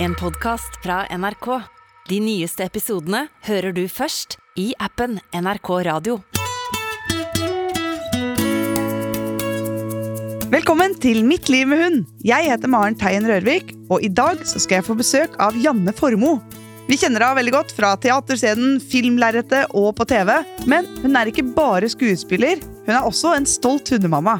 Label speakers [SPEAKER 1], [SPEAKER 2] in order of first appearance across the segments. [SPEAKER 1] En podcast fra NRK. De nyeste episodene hører du først i appen NRK Radio.
[SPEAKER 2] Velkommen til Mitt liv med hund. Jeg heter Maren Teien Rørvik, og i dag så skal jeg få besøk av Janne Formoe. Vi kjenner henne veldig godt fra teaterscenen, filmlerretet og på TV. Men hun er ikke bare skuespiller, hun er også en stolt hundemamma.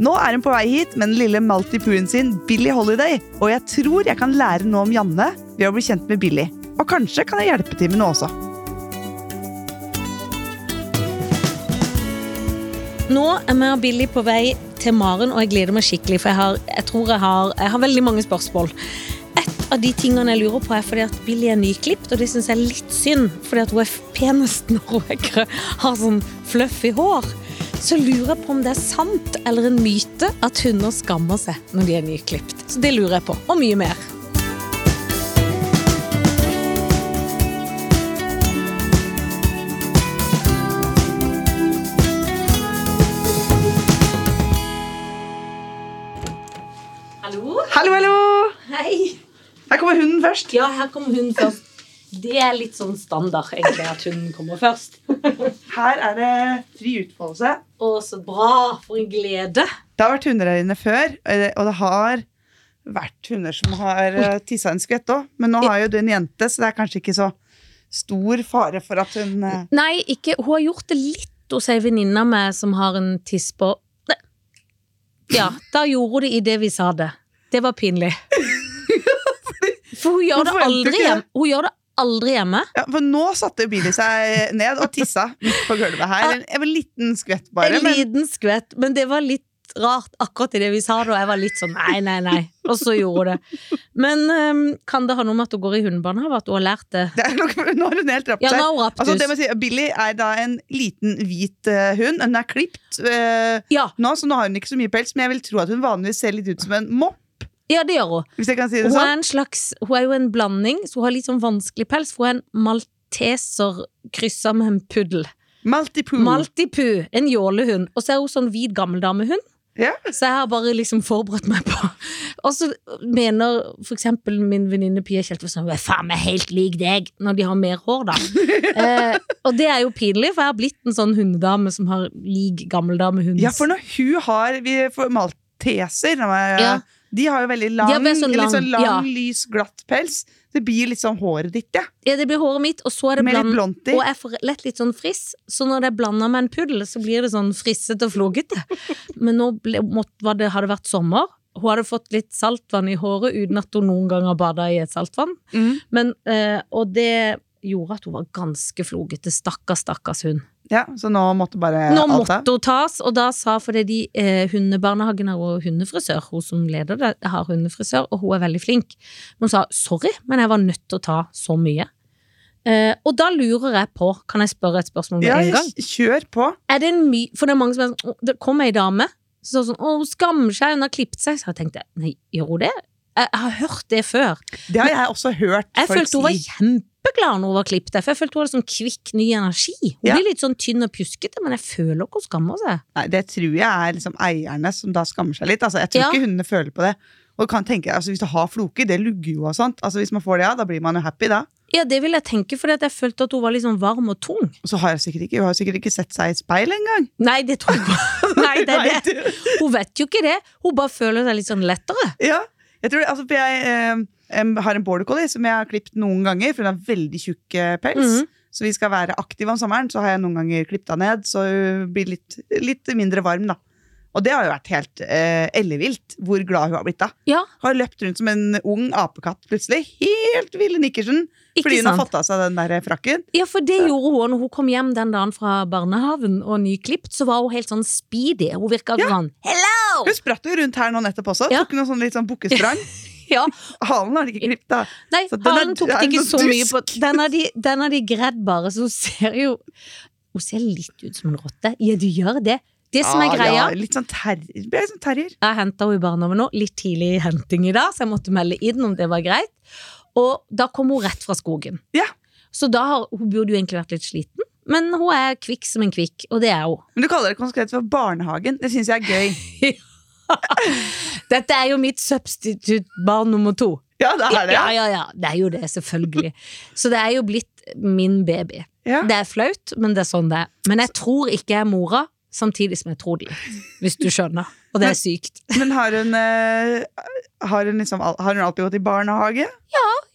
[SPEAKER 2] Nå er hun på vei hit med den lille Maltipuren sin, Billy Holiday, og jeg tror jeg kan lære noe om Janne ved å bli kjent med Billy. Og kanskje kan jeg hjelpe til med noe også.
[SPEAKER 3] Nå er vi og Billy på vei til Maren, og jeg gleder meg skikkelig, for jeg har, jeg tror jeg har, jeg har veldig mange spørsmål. Et av de tingene jeg lurer på, er fordi at Billy er nyklipt, og det syns jeg er litt synd, fordi at hun er penest når hun er grø, har sånn fluffy hår. Så lurer jeg på om det er sant eller en myte at hunder skammer seg når de er nyklipt. Så det lurer jeg på, og mye mer. Hallo?
[SPEAKER 2] Hallo, hallo!
[SPEAKER 3] Hei!
[SPEAKER 2] Her kommer hunden først.
[SPEAKER 3] Ja, her kommer hunden først. Det er litt sånn standard, egentlig, at hunden kommer først.
[SPEAKER 2] Her er det fri utfoldelse.
[SPEAKER 3] Å, så bra! For en glede.
[SPEAKER 2] Det har vært hunder her inne før, eh, og det har vært hunder som har tissa en skvett òg. Men nå har jo du en jente, så det er kanskje ikke så stor fare for at hun eh,
[SPEAKER 3] Nei, ikke, hun har gjort det litt hos ei venninne av meg som har en tiss på Nei. Ja, da gjorde hun det idet vi sa det. Det var pinlig. For hun
[SPEAKER 2] Hun
[SPEAKER 3] gjør det
[SPEAKER 2] forventer
[SPEAKER 3] aldri
[SPEAKER 2] ikke det.
[SPEAKER 3] hjemme. Hun gjør det aldri hjemme.
[SPEAKER 2] ja, For nå satte Billy seg ned og tissa midt på gulvet her. En, en liten skvett, bare.
[SPEAKER 3] En
[SPEAKER 2] Men
[SPEAKER 3] liten skvett, men det var litt rart akkurat idet vi sa det, og jeg var litt sånn nei, nei, nei. Og så gjorde hun det. Men øhm, kan det ha noe med at hun går i hundebarnehage, at hun har lært det?
[SPEAKER 2] det er nok, nå har hun helt rapt
[SPEAKER 3] Ja, nå
[SPEAKER 2] seg.
[SPEAKER 3] har hun
[SPEAKER 2] Altså,
[SPEAKER 3] raptus.
[SPEAKER 2] det må jeg si, Billy er da en liten, hvit eh, hund. Hun er klipt eh,
[SPEAKER 3] Ja,
[SPEAKER 2] nå, så nå har hun ikke så mye pels, men jeg vil tro at hun vanligvis ser litt ut som en mopp.
[SPEAKER 3] ja, det gjør hun.
[SPEAKER 2] Hvis jeg kan si det
[SPEAKER 3] Hun
[SPEAKER 2] sånn.
[SPEAKER 3] er, en slags, hun er jo en blanding, så hun har litt sånn vanskelig pels. For hun er en malteser kryssa med en puddel.
[SPEAKER 2] Maltipoo.
[SPEAKER 3] Maltipu, en jålehund. Og så er hun sånn hvit gammeldamehund.
[SPEAKER 2] Ja.
[SPEAKER 3] Så jeg har bare liksom forberedt meg på Og så mener for eksempel min venninne Pia Kjeltvold sånn Hun er faen meg helt lik deg, når de har mer hår, da. eh, og det er jo pinlig, for jeg har blitt en sånn hundedame som har lik gammeldamehund.
[SPEAKER 2] Ja, for når hun har vi får Malteser når jeg-
[SPEAKER 3] Ja.
[SPEAKER 2] De har jo veldig lang,
[SPEAKER 3] De har veldig sånn
[SPEAKER 2] litt sånn lang
[SPEAKER 3] lang, ja.
[SPEAKER 2] lys, glatt pels. Det blir litt sånn håret ditt, ja.
[SPEAKER 3] Ja, det blir håret mitt, og så er det
[SPEAKER 2] Med litt
[SPEAKER 3] bland...
[SPEAKER 2] blondt i.
[SPEAKER 3] Og jeg får lett litt sånn friss, så når det er blanda med en puddel, så blir det sånn frissete og flogete. Men nå ble, måtte, var det, har det vært sommer. Hun hadde fått litt saltvann i håret uten at hun noen gang har bada i et saltvann.
[SPEAKER 2] Mm.
[SPEAKER 3] Men, eh, og det gjorde at hun var ganske flogete. Stakkars, stakkars hund.
[SPEAKER 2] ja. Så nå måtte bare Eh,
[SPEAKER 3] Nå
[SPEAKER 2] alt av.
[SPEAKER 3] måtte hun tas, og da sa fordi de eh, hundebarnehagen har jo hundefrisør, hun som leder det, har hundefrisør, og hun er veldig flink. Men hun sa sorry, men jeg var nødt til å ta så mye. Eh, og da lurer jeg på, kan jeg spørre et spørsmål med
[SPEAKER 2] Ja,
[SPEAKER 3] en gang?
[SPEAKER 2] kjør på.
[SPEAKER 3] Er det en my For det er mange som er sånn, «Å, det kom ei dame, så sa hun sånn, å, hun skammer seg, hun har klippet seg. Så jeg tenkte, nei, gjør hun det? Jeg har hørt det før.
[SPEAKER 2] Det har jeg også hørt
[SPEAKER 3] Jeg
[SPEAKER 2] folk
[SPEAKER 3] følte hun var
[SPEAKER 2] si.
[SPEAKER 3] kjempeglad når hun var klippet. For jeg følte hun hadde sånn kvikk, ny energi. Hun
[SPEAKER 2] Ja.
[SPEAKER 3] blir litt sånn tynn og pjuskete, men jeg føler ikke hun skammer seg.
[SPEAKER 2] Nei, det tror jeg er liksom eierne som da skammer seg litt. Altså, jeg tror
[SPEAKER 3] Ja.
[SPEAKER 2] ikke hundene føler på det. Og kan tenke, altså, Hvis du har floker, det lugger jo og sånt. Altså, hvis man får det av, da blir man jo happy, da.
[SPEAKER 3] Ja, det vil jeg tenke, for jeg følte at hun var litt sånn varm og tung.
[SPEAKER 2] Og så har jeg sikkert ikke, hun har sikkert ikke sett seg i speil engang.
[SPEAKER 3] Nei, det tror jeg ikke. Nei, det er
[SPEAKER 2] Nei,
[SPEAKER 3] det.
[SPEAKER 2] du-
[SPEAKER 3] Hun vet jo ikke det. Hun bare føler seg litt sånn lettere.
[SPEAKER 2] Ja, jeg tror det, altså, for jeg eh, em, har en border collie som jeg har klippet noen ganger, for hun har veldig tjukk eh, pels.
[SPEAKER 3] Mhm.
[SPEAKER 2] Så vi skal være aktive om sommeren, så har jeg noen ganger klippet henne ned, så hun blir litt, litt mindre varm, da. Og det har jo vært helt eh, ellevilt, hvor glad hun har blitt da.
[SPEAKER 3] Ja,
[SPEAKER 2] Har løpt rundt som en ung apekatt plutselig, helt Ville Nikkersen,
[SPEAKER 3] ikke
[SPEAKER 2] fordi hun har
[SPEAKER 3] sant?
[SPEAKER 2] fått av seg den der eh, frakken.
[SPEAKER 3] Ja, for det gjorde hun når hun kom hjem den dagen fra barnehaven og nyklipt, så var hun helt sånn speedy. Hun virka
[SPEAKER 2] Ja.
[SPEAKER 3] sånn hello!
[SPEAKER 2] Hun spratt jo rundt her nå nettopp også,
[SPEAKER 3] Ja.
[SPEAKER 2] tok noen sånn litt sånn bukkesprang.
[SPEAKER 3] Ja.
[SPEAKER 2] Halen har de ikke klippet da.
[SPEAKER 3] Nei,
[SPEAKER 2] Så den er-
[SPEAKER 3] halen tok
[SPEAKER 2] er
[SPEAKER 3] det ikke
[SPEAKER 2] noe
[SPEAKER 3] så mye på.
[SPEAKER 2] dusk.
[SPEAKER 3] Den har de, den har de gredd bare, så hun ser jo Hun ser litt ut som en rotte. Ja, du gjør det. Det som er
[SPEAKER 2] Ah,
[SPEAKER 3] greia
[SPEAKER 2] Ja, litt sånn terrier. Ble sånn terrier.
[SPEAKER 3] Jeg henta henne i barnehagen nå, litt tidlig henting i dag, så jeg måtte melde inn om det var greit. Og da kom hun rett fra skogen.
[SPEAKER 2] Ja.
[SPEAKER 3] Så da har, hun burde jo egentlig vært litt sliten, men hun er kvikk som en kvikk, og det er hun.
[SPEAKER 2] Men du kaller det konsekvent for barnehagen. Det syns jeg er gøy.
[SPEAKER 3] Dette er jo mitt substitutt barn nummer to.
[SPEAKER 2] Ja, det er det.
[SPEAKER 3] Ja, ja, ja. Det er jo det, selvfølgelig. Så det er jo blitt min baby.
[SPEAKER 2] Ja.
[SPEAKER 3] Det er flaut, men det er sånn det er. Men jeg tror ikke jeg er mora, samtidig som jeg tror det litt. Hvis du skjønner. Og det er sykt.
[SPEAKER 2] Men har hun, eh, har, hun liksom, al- har hun alltid gått i barnehage?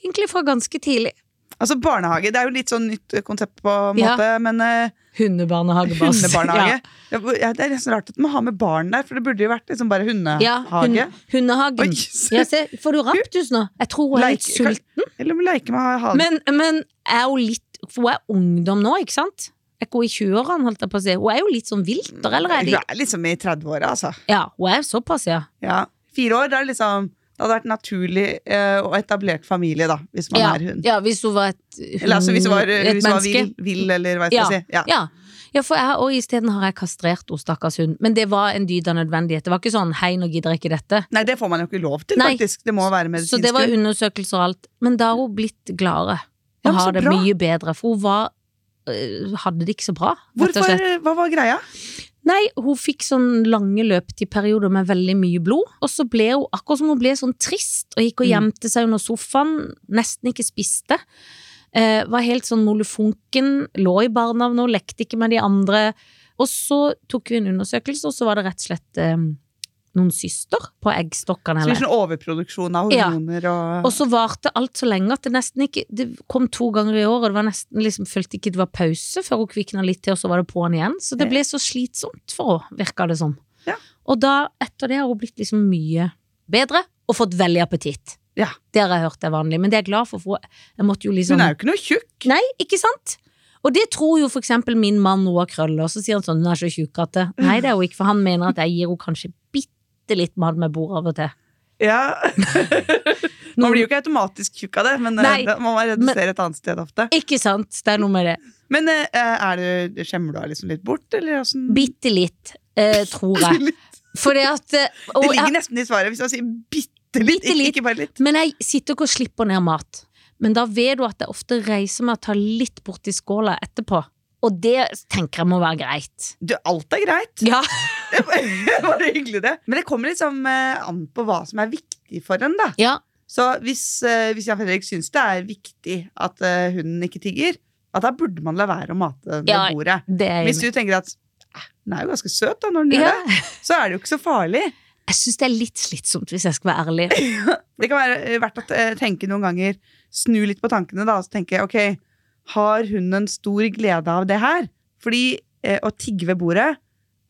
[SPEAKER 3] Egentlig fra ganske tidlig.
[SPEAKER 2] Altså barnehage, Det er jo litt sånn nytt eh, konsept på en
[SPEAKER 3] Ja.
[SPEAKER 2] måte, men eh,
[SPEAKER 3] Hundebarnehage. bare-
[SPEAKER 2] hundebarnehage ja. ja, Det er nesten rart at man har med barn der, for det burde jo vært liksom bare
[SPEAKER 3] Ja,
[SPEAKER 2] hundehage.
[SPEAKER 3] ja hund, hundehagen.
[SPEAKER 2] Oi, se.
[SPEAKER 3] Ja, se, får du raptus nå? Jeg tror hun er litt
[SPEAKER 2] Leike-
[SPEAKER 3] sulten.
[SPEAKER 2] Eller leke med hage.
[SPEAKER 3] Men, men er hun litt For hun er ungdom nå, ikke sant? Er ikke hun i 20-årene, holdt jeg på å si? Hun er jo litt sånn vilter, eller er de
[SPEAKER 2] Hun er liksom i 30-åra, altså.
[SPEAKER 3] Ja, hun er såpass, ja.
[SPEAKER 2] Ja. Fire år, det er liksom Det hadde vært naturlig eh, og etablert familie, da, hvis man
[SPEAKER 3] Ja,
[SPEAKER 2] er hund.
[SPEAKER 3] ja, hvis hun var et hund,
[SPEAKER 2] Eller altså, hvis hun var,
[SPEAKER 3] et
[SPEAKER 2] hvis hun var
[SPEAKER 3] menneske.
[SPEAKER 2] vill, vill, eller hva skal jeg si. Ja.
[SPEAKER 3] Ja. Ja, for jeg, og isteden har jeg kastrert henne, stakkars hund. Men det var en dyd av nødvendighet. Det var ikke sånn 'hei, nå gidder jeg ikke dette'.
[SPEAKER 2] Nei, det får man jo ikke lov til,
[SPEAKER 3] Nei.
[SPEAKER 2] faktisk. Det må være medisinsk.
[SPEAKER 3] Så det var undersøkelser og alt. Men da har hun blitt gladere.
[SPEAKER 2] Ja,
[SPEAKER 3] Og
[SPEAKER 2] men så
[SPEAKER 3] har det
[SPEAKER 2] bra.
[SPEAKER 3] mye bedre. For hun var øh, hadde det ikke så bra. rett og
[SPEAKER 2] Hvorfor,
[SPEAKER 3] slett.
[SPEAKER 2] hva var greia?
[SPEAKER 3] Nei, hun fikk sånn lange løpetidperioder med veldig mye blod. Og så ble hun akkurat som hun ble sånn trist og gikk og
[SPEAKER 2] Mm.
[SPEAKER 3] gjemte seg under sofaen. Nesten ikke spiste. Eh, var helt sånn molefonken. Lå i barnehage og lekte ikke med de andre. Og så tok vi en undersøkelse, og så var det rett og slett eh, noen syster på
[SPEAKER 2] Så
[SPEAKER 3] eggstokkene. eller-
[SPEAKER 2] litt sånn overproduksjon av
[SPEAKER 3] Ja.
[SPEAKER 2] hormoner og
[SPEAKER 3] og så varte alt så lenge at det nesten ikke Det kom to ganger i år, og det var nesten liksom følte ikke det var pause før hun kvikna litt til, og så var det på'n igjen. Så det ble så slitsomt for henne, virka det som.
[SPEAKER 2] Ja.
[SPEAKER 3] Og da, etter det, har hun blitt liksom mye bedre og fått veldig appetitt.
[SPEAKER 2] Ja.
[SPEAKER 3] Det har jeg hørt er vanlig, men det er jeg glad for, for jeg måtte jo
[SPEAKER 2] Hun
[SPEAKER 3] liksom
[SPEAKER 2] er jo ikke noe tjukk.
[SPEAKER 3] Nei, ikke sant? Og det tror jo for eksempel min mann nå har krøller, så sier han sånn, hun er så tjukk at det Nei, det er hun ikke, for han mener at jeg gir henne kanskje bitte litt mat med bord av og til.
[SPEAKER 2] Ja. Man
[SPEAKER 3] Noen-
[SPEAKER 2] blir jo ikke automatisk tjukk av det, men eh,
[SPEAKER 3] Nei.
[SPEAKER 2] det- man må redusere et annet sted ofte.
[SPEAKER 3] Ikke sant? Det er noe med det.
[SPEAKER 2] Men eh, er det, skjemmer du deg liksom litt bort, eller åssen?
[SPEAKER 3] Bitte litt, eh, tror jeg. Fordi at eh, og
[SPEAKER 2] Det ligger
[SPEAKER 3] jeg,
[SPEAKER 2] nesten i svaret hvis man sier bitte litt,
[SPEAKER 3] Bitte litt.
[SPEAKER 2] Ikke, ikke bare litt.
[SPEAKER 3] Men jeg sitter ikke og slipper ned mat. Men da vet du at jeg ofte reiser meg og tar litt borti skåla etterpå. Og det tenker jeg må være greit.
[SPEAKER 2] Du, alt er greit.
[SPEAKER 3] Ja,
[SPEAKER 2] Det var bare hyggelig, det. Men det kommer liksom eh, an på hva som er viktig for en, da.
[SPEAKER 3] ja,
[SPEAKER 2] Så hvis, eh, hvis Jan Fredrik syns det er viktig at eh, hunden ikke tigger, at da burde man la være å mate den ved
[SPEAKER 3] Ja,
[SPEAKER 2] bordet.
[SPEAKER 3] det er jeg
[SPEAKER 2] Hvis
[SPEAKER 3] enig i.
[SPEAKER 2] du tenker at eh, den er jo ganske søt da når den gjør
[SPEAKER 3] Ja.
[SPEAKER 2] det, så er det jo ikke så farlig.
[SPEAKER 3] Jeg syns det er litt slitsomt, hvis jeg skal være ærlig.
[SPEAKER 2] Det kan være eh, verdt å eh, tenke noen ganger, snu litt på tankene da, og så tenke ok, har hunden stor glede av det her? Fordi eh, å tigge ved bordet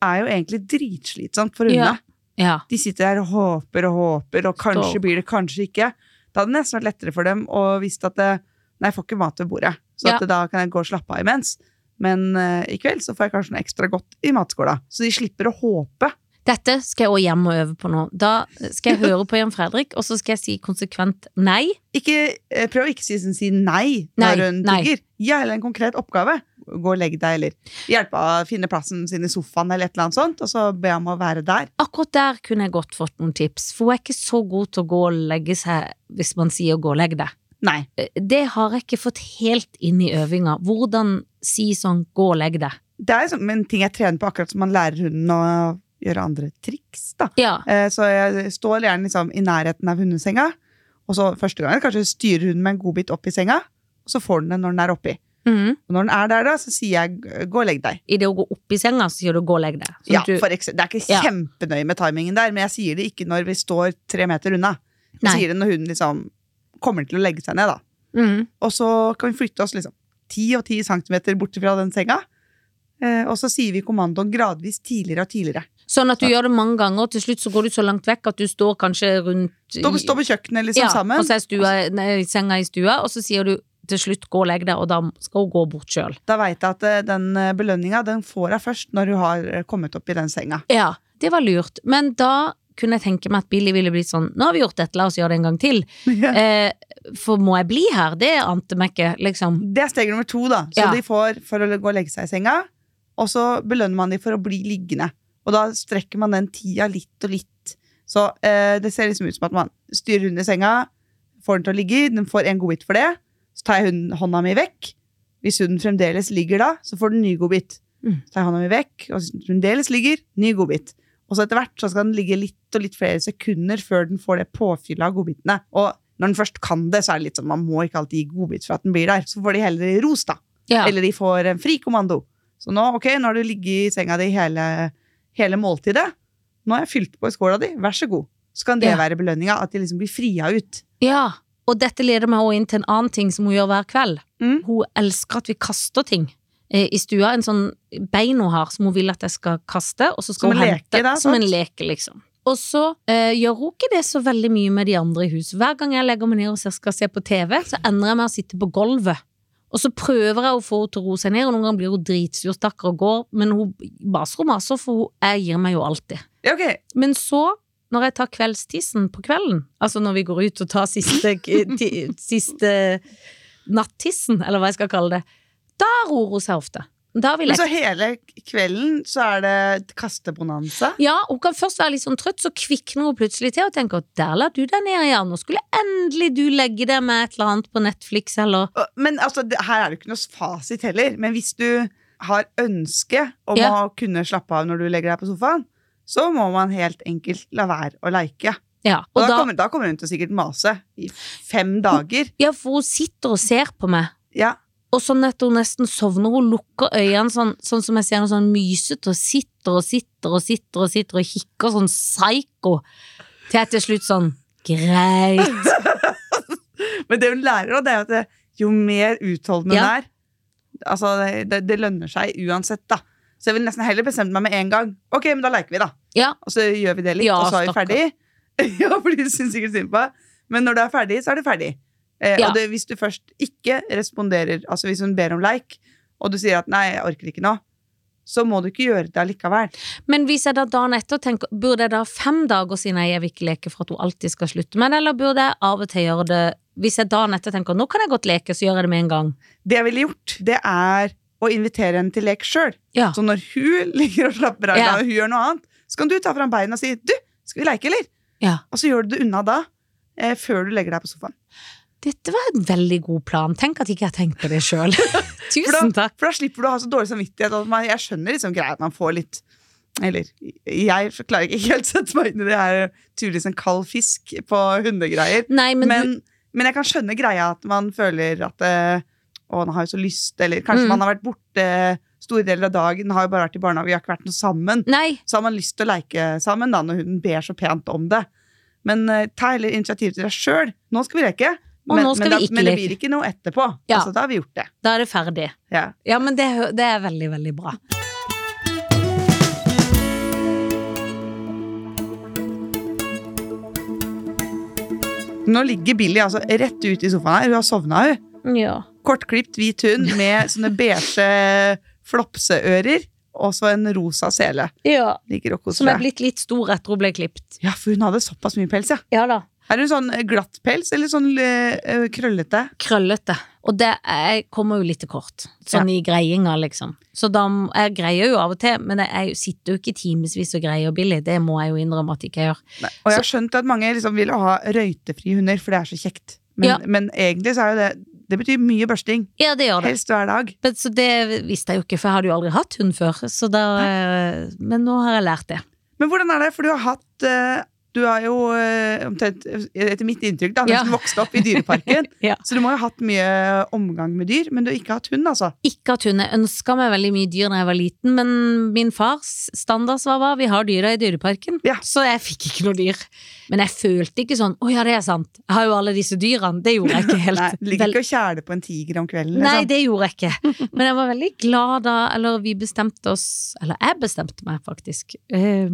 [SPEAKER 2] er jo egentlig dritslitsomt for hundene.
[SPEAKER 3] Ja. Ja.
[SPEAKER 2] De sitter der og håper og håper, og kanskje
[SPEAKER 3] Stå.
[SPEAKER 2] blir det, kanskje ikke. Da hadde det nesten vært lettere for dem å visst at eh, nei, jeg får ikke mat ved bordet, så
[SPEAKER 3] Ja.
[SPEAKER 2] at da kan jeg gå og slappe av imens. Men eh, i kveld så får jeg kanskje noe ekstra godt i matskåla. Så de slipper å håpe.
[SPEAKER 3] Dette skal jeg også hjem og øve på nå. Da skal jeg høre på Jan Fredrik, og så skal jeg si konsekvent nei.
[SPEAKER 2] Ikke, eh, prøv å ikke si, si nei
[SPEAKER 3] Nei,
[SPEAKER 2] når hun
[SPEAKER 3] nei.
[SPEAKER 2] tigger. Gi henne en konkret oppgave. Gå og legg deg, eller hjelp henne å finne plassen sin i sofaen, eller et eller annet sånt, og så be henne om å være der.
[SPEAKER 3] Akkurat der kunne jeg godt fått noen tips, for hun er ikke så god til å gå og legge seg hvis man sier gå og legg deg.
[SPEAKER 2] Nei.
[SPEAKER 3] Eh, det har jeg ikke fått helt inn i øvinga. Hvordan si sånn 'gå og legg deg'?
[SPEAKER 2] Det er som en ting jeg trener på, akkurat som man lærer hunden å gjøre andre triks, da.
[SPEAKER 3] Ja.
[SPEAKER 2] Eh, Så jeg står gjerne liksom i nærheten av hundesenga. Og så første gangen kanskje styrer hunden med en godbit opp i senga, og så får den den når den er oppi.
[SPEAKER 3] Mm.
[SPEAKER 2] Og når den er der, da, så sier jeg 'gå og legg deg'.
[SPEAKER 3] I det å gå opp i senga, så sier du 'gå og legg deg'. Sånn
[SPEAKER 2] Ja,
[SPEAKER 3] at du,
[SPEAKER 2] for eksempel, det er ikke
[SPEAKER 3] Ja.
[SPEAKER 2] kjempenøye med timingen der, men jeg sier det ikke når vi står tre meter unna. Jeg
[SPEAKER 3] Nei.
[SPEAKER 2] sier det når hunden liksom kommer til å legge seg ned, da.
[SPEAKER 3] mm.
[SPEAKER 2] Og så kan vi flytte oss liksom 10 og 10 centimeter bort fra den senga. eh, Og så sier vi kommandoen gradvis tidligere og tidligere.
[SPEAKER 3] Sånn at du gjør det mange ganger, og til slutt så går du så langt vekk at du står kanskje rundt
[SPEAKER 2] Stå på, stå på kjøkkenet liksom
[SPEAKER 3] ja,
[SPEAKER 2] sammen.
[SPEAKER 3] Og så er stua, nei, senga i stua, og så sier du til slutt 'gå og legg deg', og da skal hun gå bort sjøl.
[SPEAKER 2] Da veit jeg at eh, den belønninga den får jeg først når du har eh, kommet opp i den senga.
[SPEAKER 3] Ja, det var lurt. Men da kunne jeg tenke meg at Billy ville blitt sånn 'nå har vi gjort dette, la oss gjøre det en gang til'.
[SPEAKER 2] Det
[SPEAKER 3] Eh, for må jeg bli her? Det ante meg ikke, liksom.
[SPEAKER 2] er steg nummer to, da. Så
[SPEAKER 3] Ja.
[SPEAKER 2] de får for å gå og legge seg i senga, og så belønner man de for å bli liggende. Og da strekker man den tida litt og litt. Så eh, det ser liksom ut som at man styrer hunden i senga, får den til å ligge, den får en godbit for det, så tar jeg hunden, hånda mi vekk. Hvis hunden fremdeles ligger da, så får den ny godbit.
[SPEAKER 3] Mm.
[SPEAKER 2] Så tar jeg hånda mi vekk, og hvis den fremdeles ligger, ny godbit. Og så etter hvert så skal den ligge litt og litt flere sekunder før den får det påfyllet av godbitene. Og når den først kan det, så er det litt sånn man må ikke alltid gi godbit for at den blir der. Så får de heller ros, da.
[SPEAKER 3] Ja.
[SPEAKER 2] Eller de får en fri kommando. Så nå, ok, nå har du ligget i senga di hele, hele måltidet. Nå har jeg fylt på i skåla di, vær så god. Så kan det
[SPEAKER 3] Ja.
[SPEAKER 2] være belønninga, at de liksom blir fria ut.
[SPEAKER 3] ja. Og dette leder meg også inn til en annen ting som hun gjør hver kveld.
[SPEAKER 2] Mm.
[SPEAKER 3] Hun elsker at vi kaster ting eh, i stua. En sånn bein hun har som hun vil at jeg skal kaste, og så skal
[SPEAKER 2] Som
[SPEAKER 3] hun
[SPEAKER 2] en
[SPEAKER 3] hente.
[SPEAKER 2] leke, da,
[SPEAKER 3] som en
[SPEAKER 2] sant?
[SPEAKER 3] leke, liksom. Og så eh, gjør hun ikke det så veldig mye med de andre i huset. Hver gang jeg legger meg ned og ser- skal se på TV, så endrer jeg meg å sitte på gulvet. Og så prøver jeg å få henne til å roe seg ned, og noen ganger blir hun dritsur, stakkar, og går. Men hun baser og maser, for hun, jeg gir meg jo alltid.
[SPEAKER 2] Ja, ok.
[SPEAKER 3] Men så, når jeg tar kveldstissen på kvelden, altså når vi går ut og tar siste, ti- siste nattissen, eller hva jeg skal kalle det, da roer hun seg ofte. Da vil
[SPEAKER 2] Men så
[SPEAKER 3] jeg...
[SPEAKER 2] hele kvelden så er det et kastebonanza.
[SPEAKER 3] Ja, hun kan først være litt sånn trøtt, så kvikner hun plutselig til og tenker at der la du deg ned igjen, nå skulle endelig du legge deg med et eller annet på Netflix eller
[SPEAKER 2] Og- Men altså, det, her er det ikke noe fasit heller. Men hvis du har ønske om
[SPEAKER 3] Ja.
[SPEAKER 2] å kunne slappe av når du legger deg på sofaen, så må man helt enkelt la være å leike.
[SPEAKER 3] Ja,
[SPEAKER 2] Og,
[SPEAKER 3] og
[SPEAKER 2] da,
[SPEAKER 3] da,
[SPEAKER 2] kommer, da kommer hun til å sikkert mase i fem dager.
[SPEAKER 3] ja for hun sitter og ser på meg,
[SPEAKER 2] Ja.
[SPEAKER 3] og sånn at hun nesten sovner, hun lukker øynene sånn, sånn som jeg ser noe sånn mysete, og sitter og sitter og sitter og sitter og kikker sånn psyko, til jeg til slutt sånn, greit.
[SPEAKER 2] Men det hun lærer, da, det er jo at det, jo mer utholdende
[SPEAKER 3] Ja.
[SPEAKER 2] hun er Altså, det, det, det lønner seg uansett, da. Så jeg vil nesten heller bestemme meg med en gang. Ok, men da leker vi, da.
[SPEAKER 3] Ja,
[SPEAKER 2] Og så gjør vi det litt,
[SPEAKER 3] Ja,
[SPEAKER 2] og så er vi
[SPEAKER 3] stakkar.
[SPEAKER 2] ferdig. ja, fordi du syns sikkert synd på meg. Men når du er ferdig, så er du ferdig. Eh,
[SPEAKER 3] Ja.
[SPEAKER 2] Og det, hvis du først ikke responderer, altså hvis hun ber om leik, og du sier at 'nei, jeg orker ikke nå', så må du ikke gjøre det allikevel.
[SPEAKER 3] men hvis jeg da dagen etter tenker, burde jeg da fem dager siden jeg vil ikke leke for at hun alltid skal slutte med det, eller burde jeg av og til gjøre det, hvis jeg dagen etter tenker, nå kan jeg godt leke, så gjør jeg det med en gang.
[SPEAKER 2] Det jeg ville gjort, det er å invitere henne til lek sjøl.
[SPEAKER 3] Ja.
[SPEAKER 2] Så når hun ligger og slapper av,
[SPEAKER 3] Ja.
[SPEAKER 2] og hun gjør noe annet, så kan du ta fram beina og si 'du, skal vi leke, eller?'
[SPEAKER 3] Ja.
[SPEAKER 2] Og så gjør du det unna da, eh, før du legger deg på sofaen.
[SPEAKER 3] Dette var en veldig god plan. Tenk at ikke jeg tenkte på det selv.
[SPEAKER 2] For
[SPEAKER 3] Tusen
[SPEAKER 2] da,
[SPEAKER 3] takk.
[SPEAKER 2] for da slipper du å ha så dårlig samvittighet. At man, jeg skjønner liksom greia at man får litt Eller jeg klarer ikke helt å sette meg inn i det her tydeligvis en kald fisk på hundegreier.
[SPEAKER 3] Nei, men,
[SPEAKER 2] Men,
[SPEAKER 3] du,
[SPEAKER 2] men, jeg kan skjønne greia at man føler at eh, Å, nå har jeg så lyst. Eller kanskje
[SPEAKER 3] Mm.
[SPEAKER 2] man har vært borte store deler av dagen, har jo bare vært i barnehage, vi har ikke vært noe sammen.
[SPEAKER 3] nei,
[SPEAKER 2] Så har man lyst til å leke sammen da, når hunden ber så pent om det. Men eh, ta heller initiativ til deg sjøl. Nå skal vi leke.
[SPEAKER 3] Og
[SPEAKER 2] men,
[SPEAKER 3] nå skal
[SPEAKER 2] men, da,
[SPEAKER 3] vi ikke
[SPEAKER 2] men det
[SPEAKER 3] leke.
[SPEAKER 2] blir ikke noe etterpå.
[SPEAKER 3] Ja.
[SPEAKER 2] Altså, da har vi gjort det.
[SPEAKER 3] da er det ferdig.
[SPEAKER 2] Ja.
[SPEAKER 3] Ja, men det, hø- det er veldig, veldig bra.
[SPEAKER 2] Nå ligger Billy altså rett ute i sofaen her. Hun har sovna, hun.
[SPEAKER 3] Ja.
[SPEAKER 2] Kortklipt hvit hund med sånne beige flopseører og så en rosa sele. Ligger og
[SPEAKER 3] Som
[SPEAKER 2] koser
[SPEAKER 3] er
[SPEAKER 2] seg.
[SPEAKER 3] blitt litt stor etter hun ble klippet.
[SPEAKER 2] Ja, for hun hadde såpass mye pels, ja.
[SPEAKER 3] Ja da.
[SPEAKER 2] Er hun sånn glatt pels eller sånn eh, eh, krøllete?
[SPEAKER 3] Krøllete. Og det er, kommer jo litt til kort. Sånn i greiinga, liksom. Så da m- Jeg greier jo av og til, men jeg er jo- sitter jo ikke timevis og greier billig. Det må jeg jo innrømme at jeg ikke gjør.
[SPEAKER 2] Nei. Og jeg har skjønt at mange liksom vil ha røytefrie hunder, for det er så kjekt. Men,
[SPEAKER 3] Ja.
[SPEAKER 2] men egentlig så er jo det Det betyr mye børsting.
[SPEAKER 3] Ja, det gjør det.
[SPEAKER 2] Helst hver dag.
[SPEAKER 3] Men, så det visste jeg jo ikke, for jeg hadde jo aldri hatt hund før. Så da, eh, men nå har jeg lært det.
[SPEAKER 2] Men hvordan er det? For du har hatt eh, Du har jo eh, omtrent, etter mitt inntrykk, da,
[SPEAKER 3] Ja.
[SPEAKER 2] nesten vokst opp i dyreparken.
[SPEAKER 3] Ja.
[SPEAKER 2] Så du må jo ha hatt mye omgang med dyr, men du har ikke hatt hund, altså.
[SPEAKER 3] Ikke at hun ønska meg veldig mye dyr da jeg var liten, men min fars standardsvar var vi har dyra i dyreparken,
[SPEAKER 2] Ja.
[SPEAKER 3] så jeg fikk ikke noe dyr. Men jeg følte ikke sånn å ja, det er sant, jeg har jo alle disse dyrene, det gjorde jeg ikke helt.
[SPEAKER 2] Nei, du ligger
[SPEAKER 3] Vel-
[SPEAKER 2] ikke og kjæler på en tiger om kvelden.
[SPEAKER 3] Nei,
[SPEAKER 2] Liksom.
[SPEAKER 3] det gjorde jeg ikke. Men jeg var veldig glad da, eller vi bestemte oss, eller jeg bestemte meg faktisk, eh,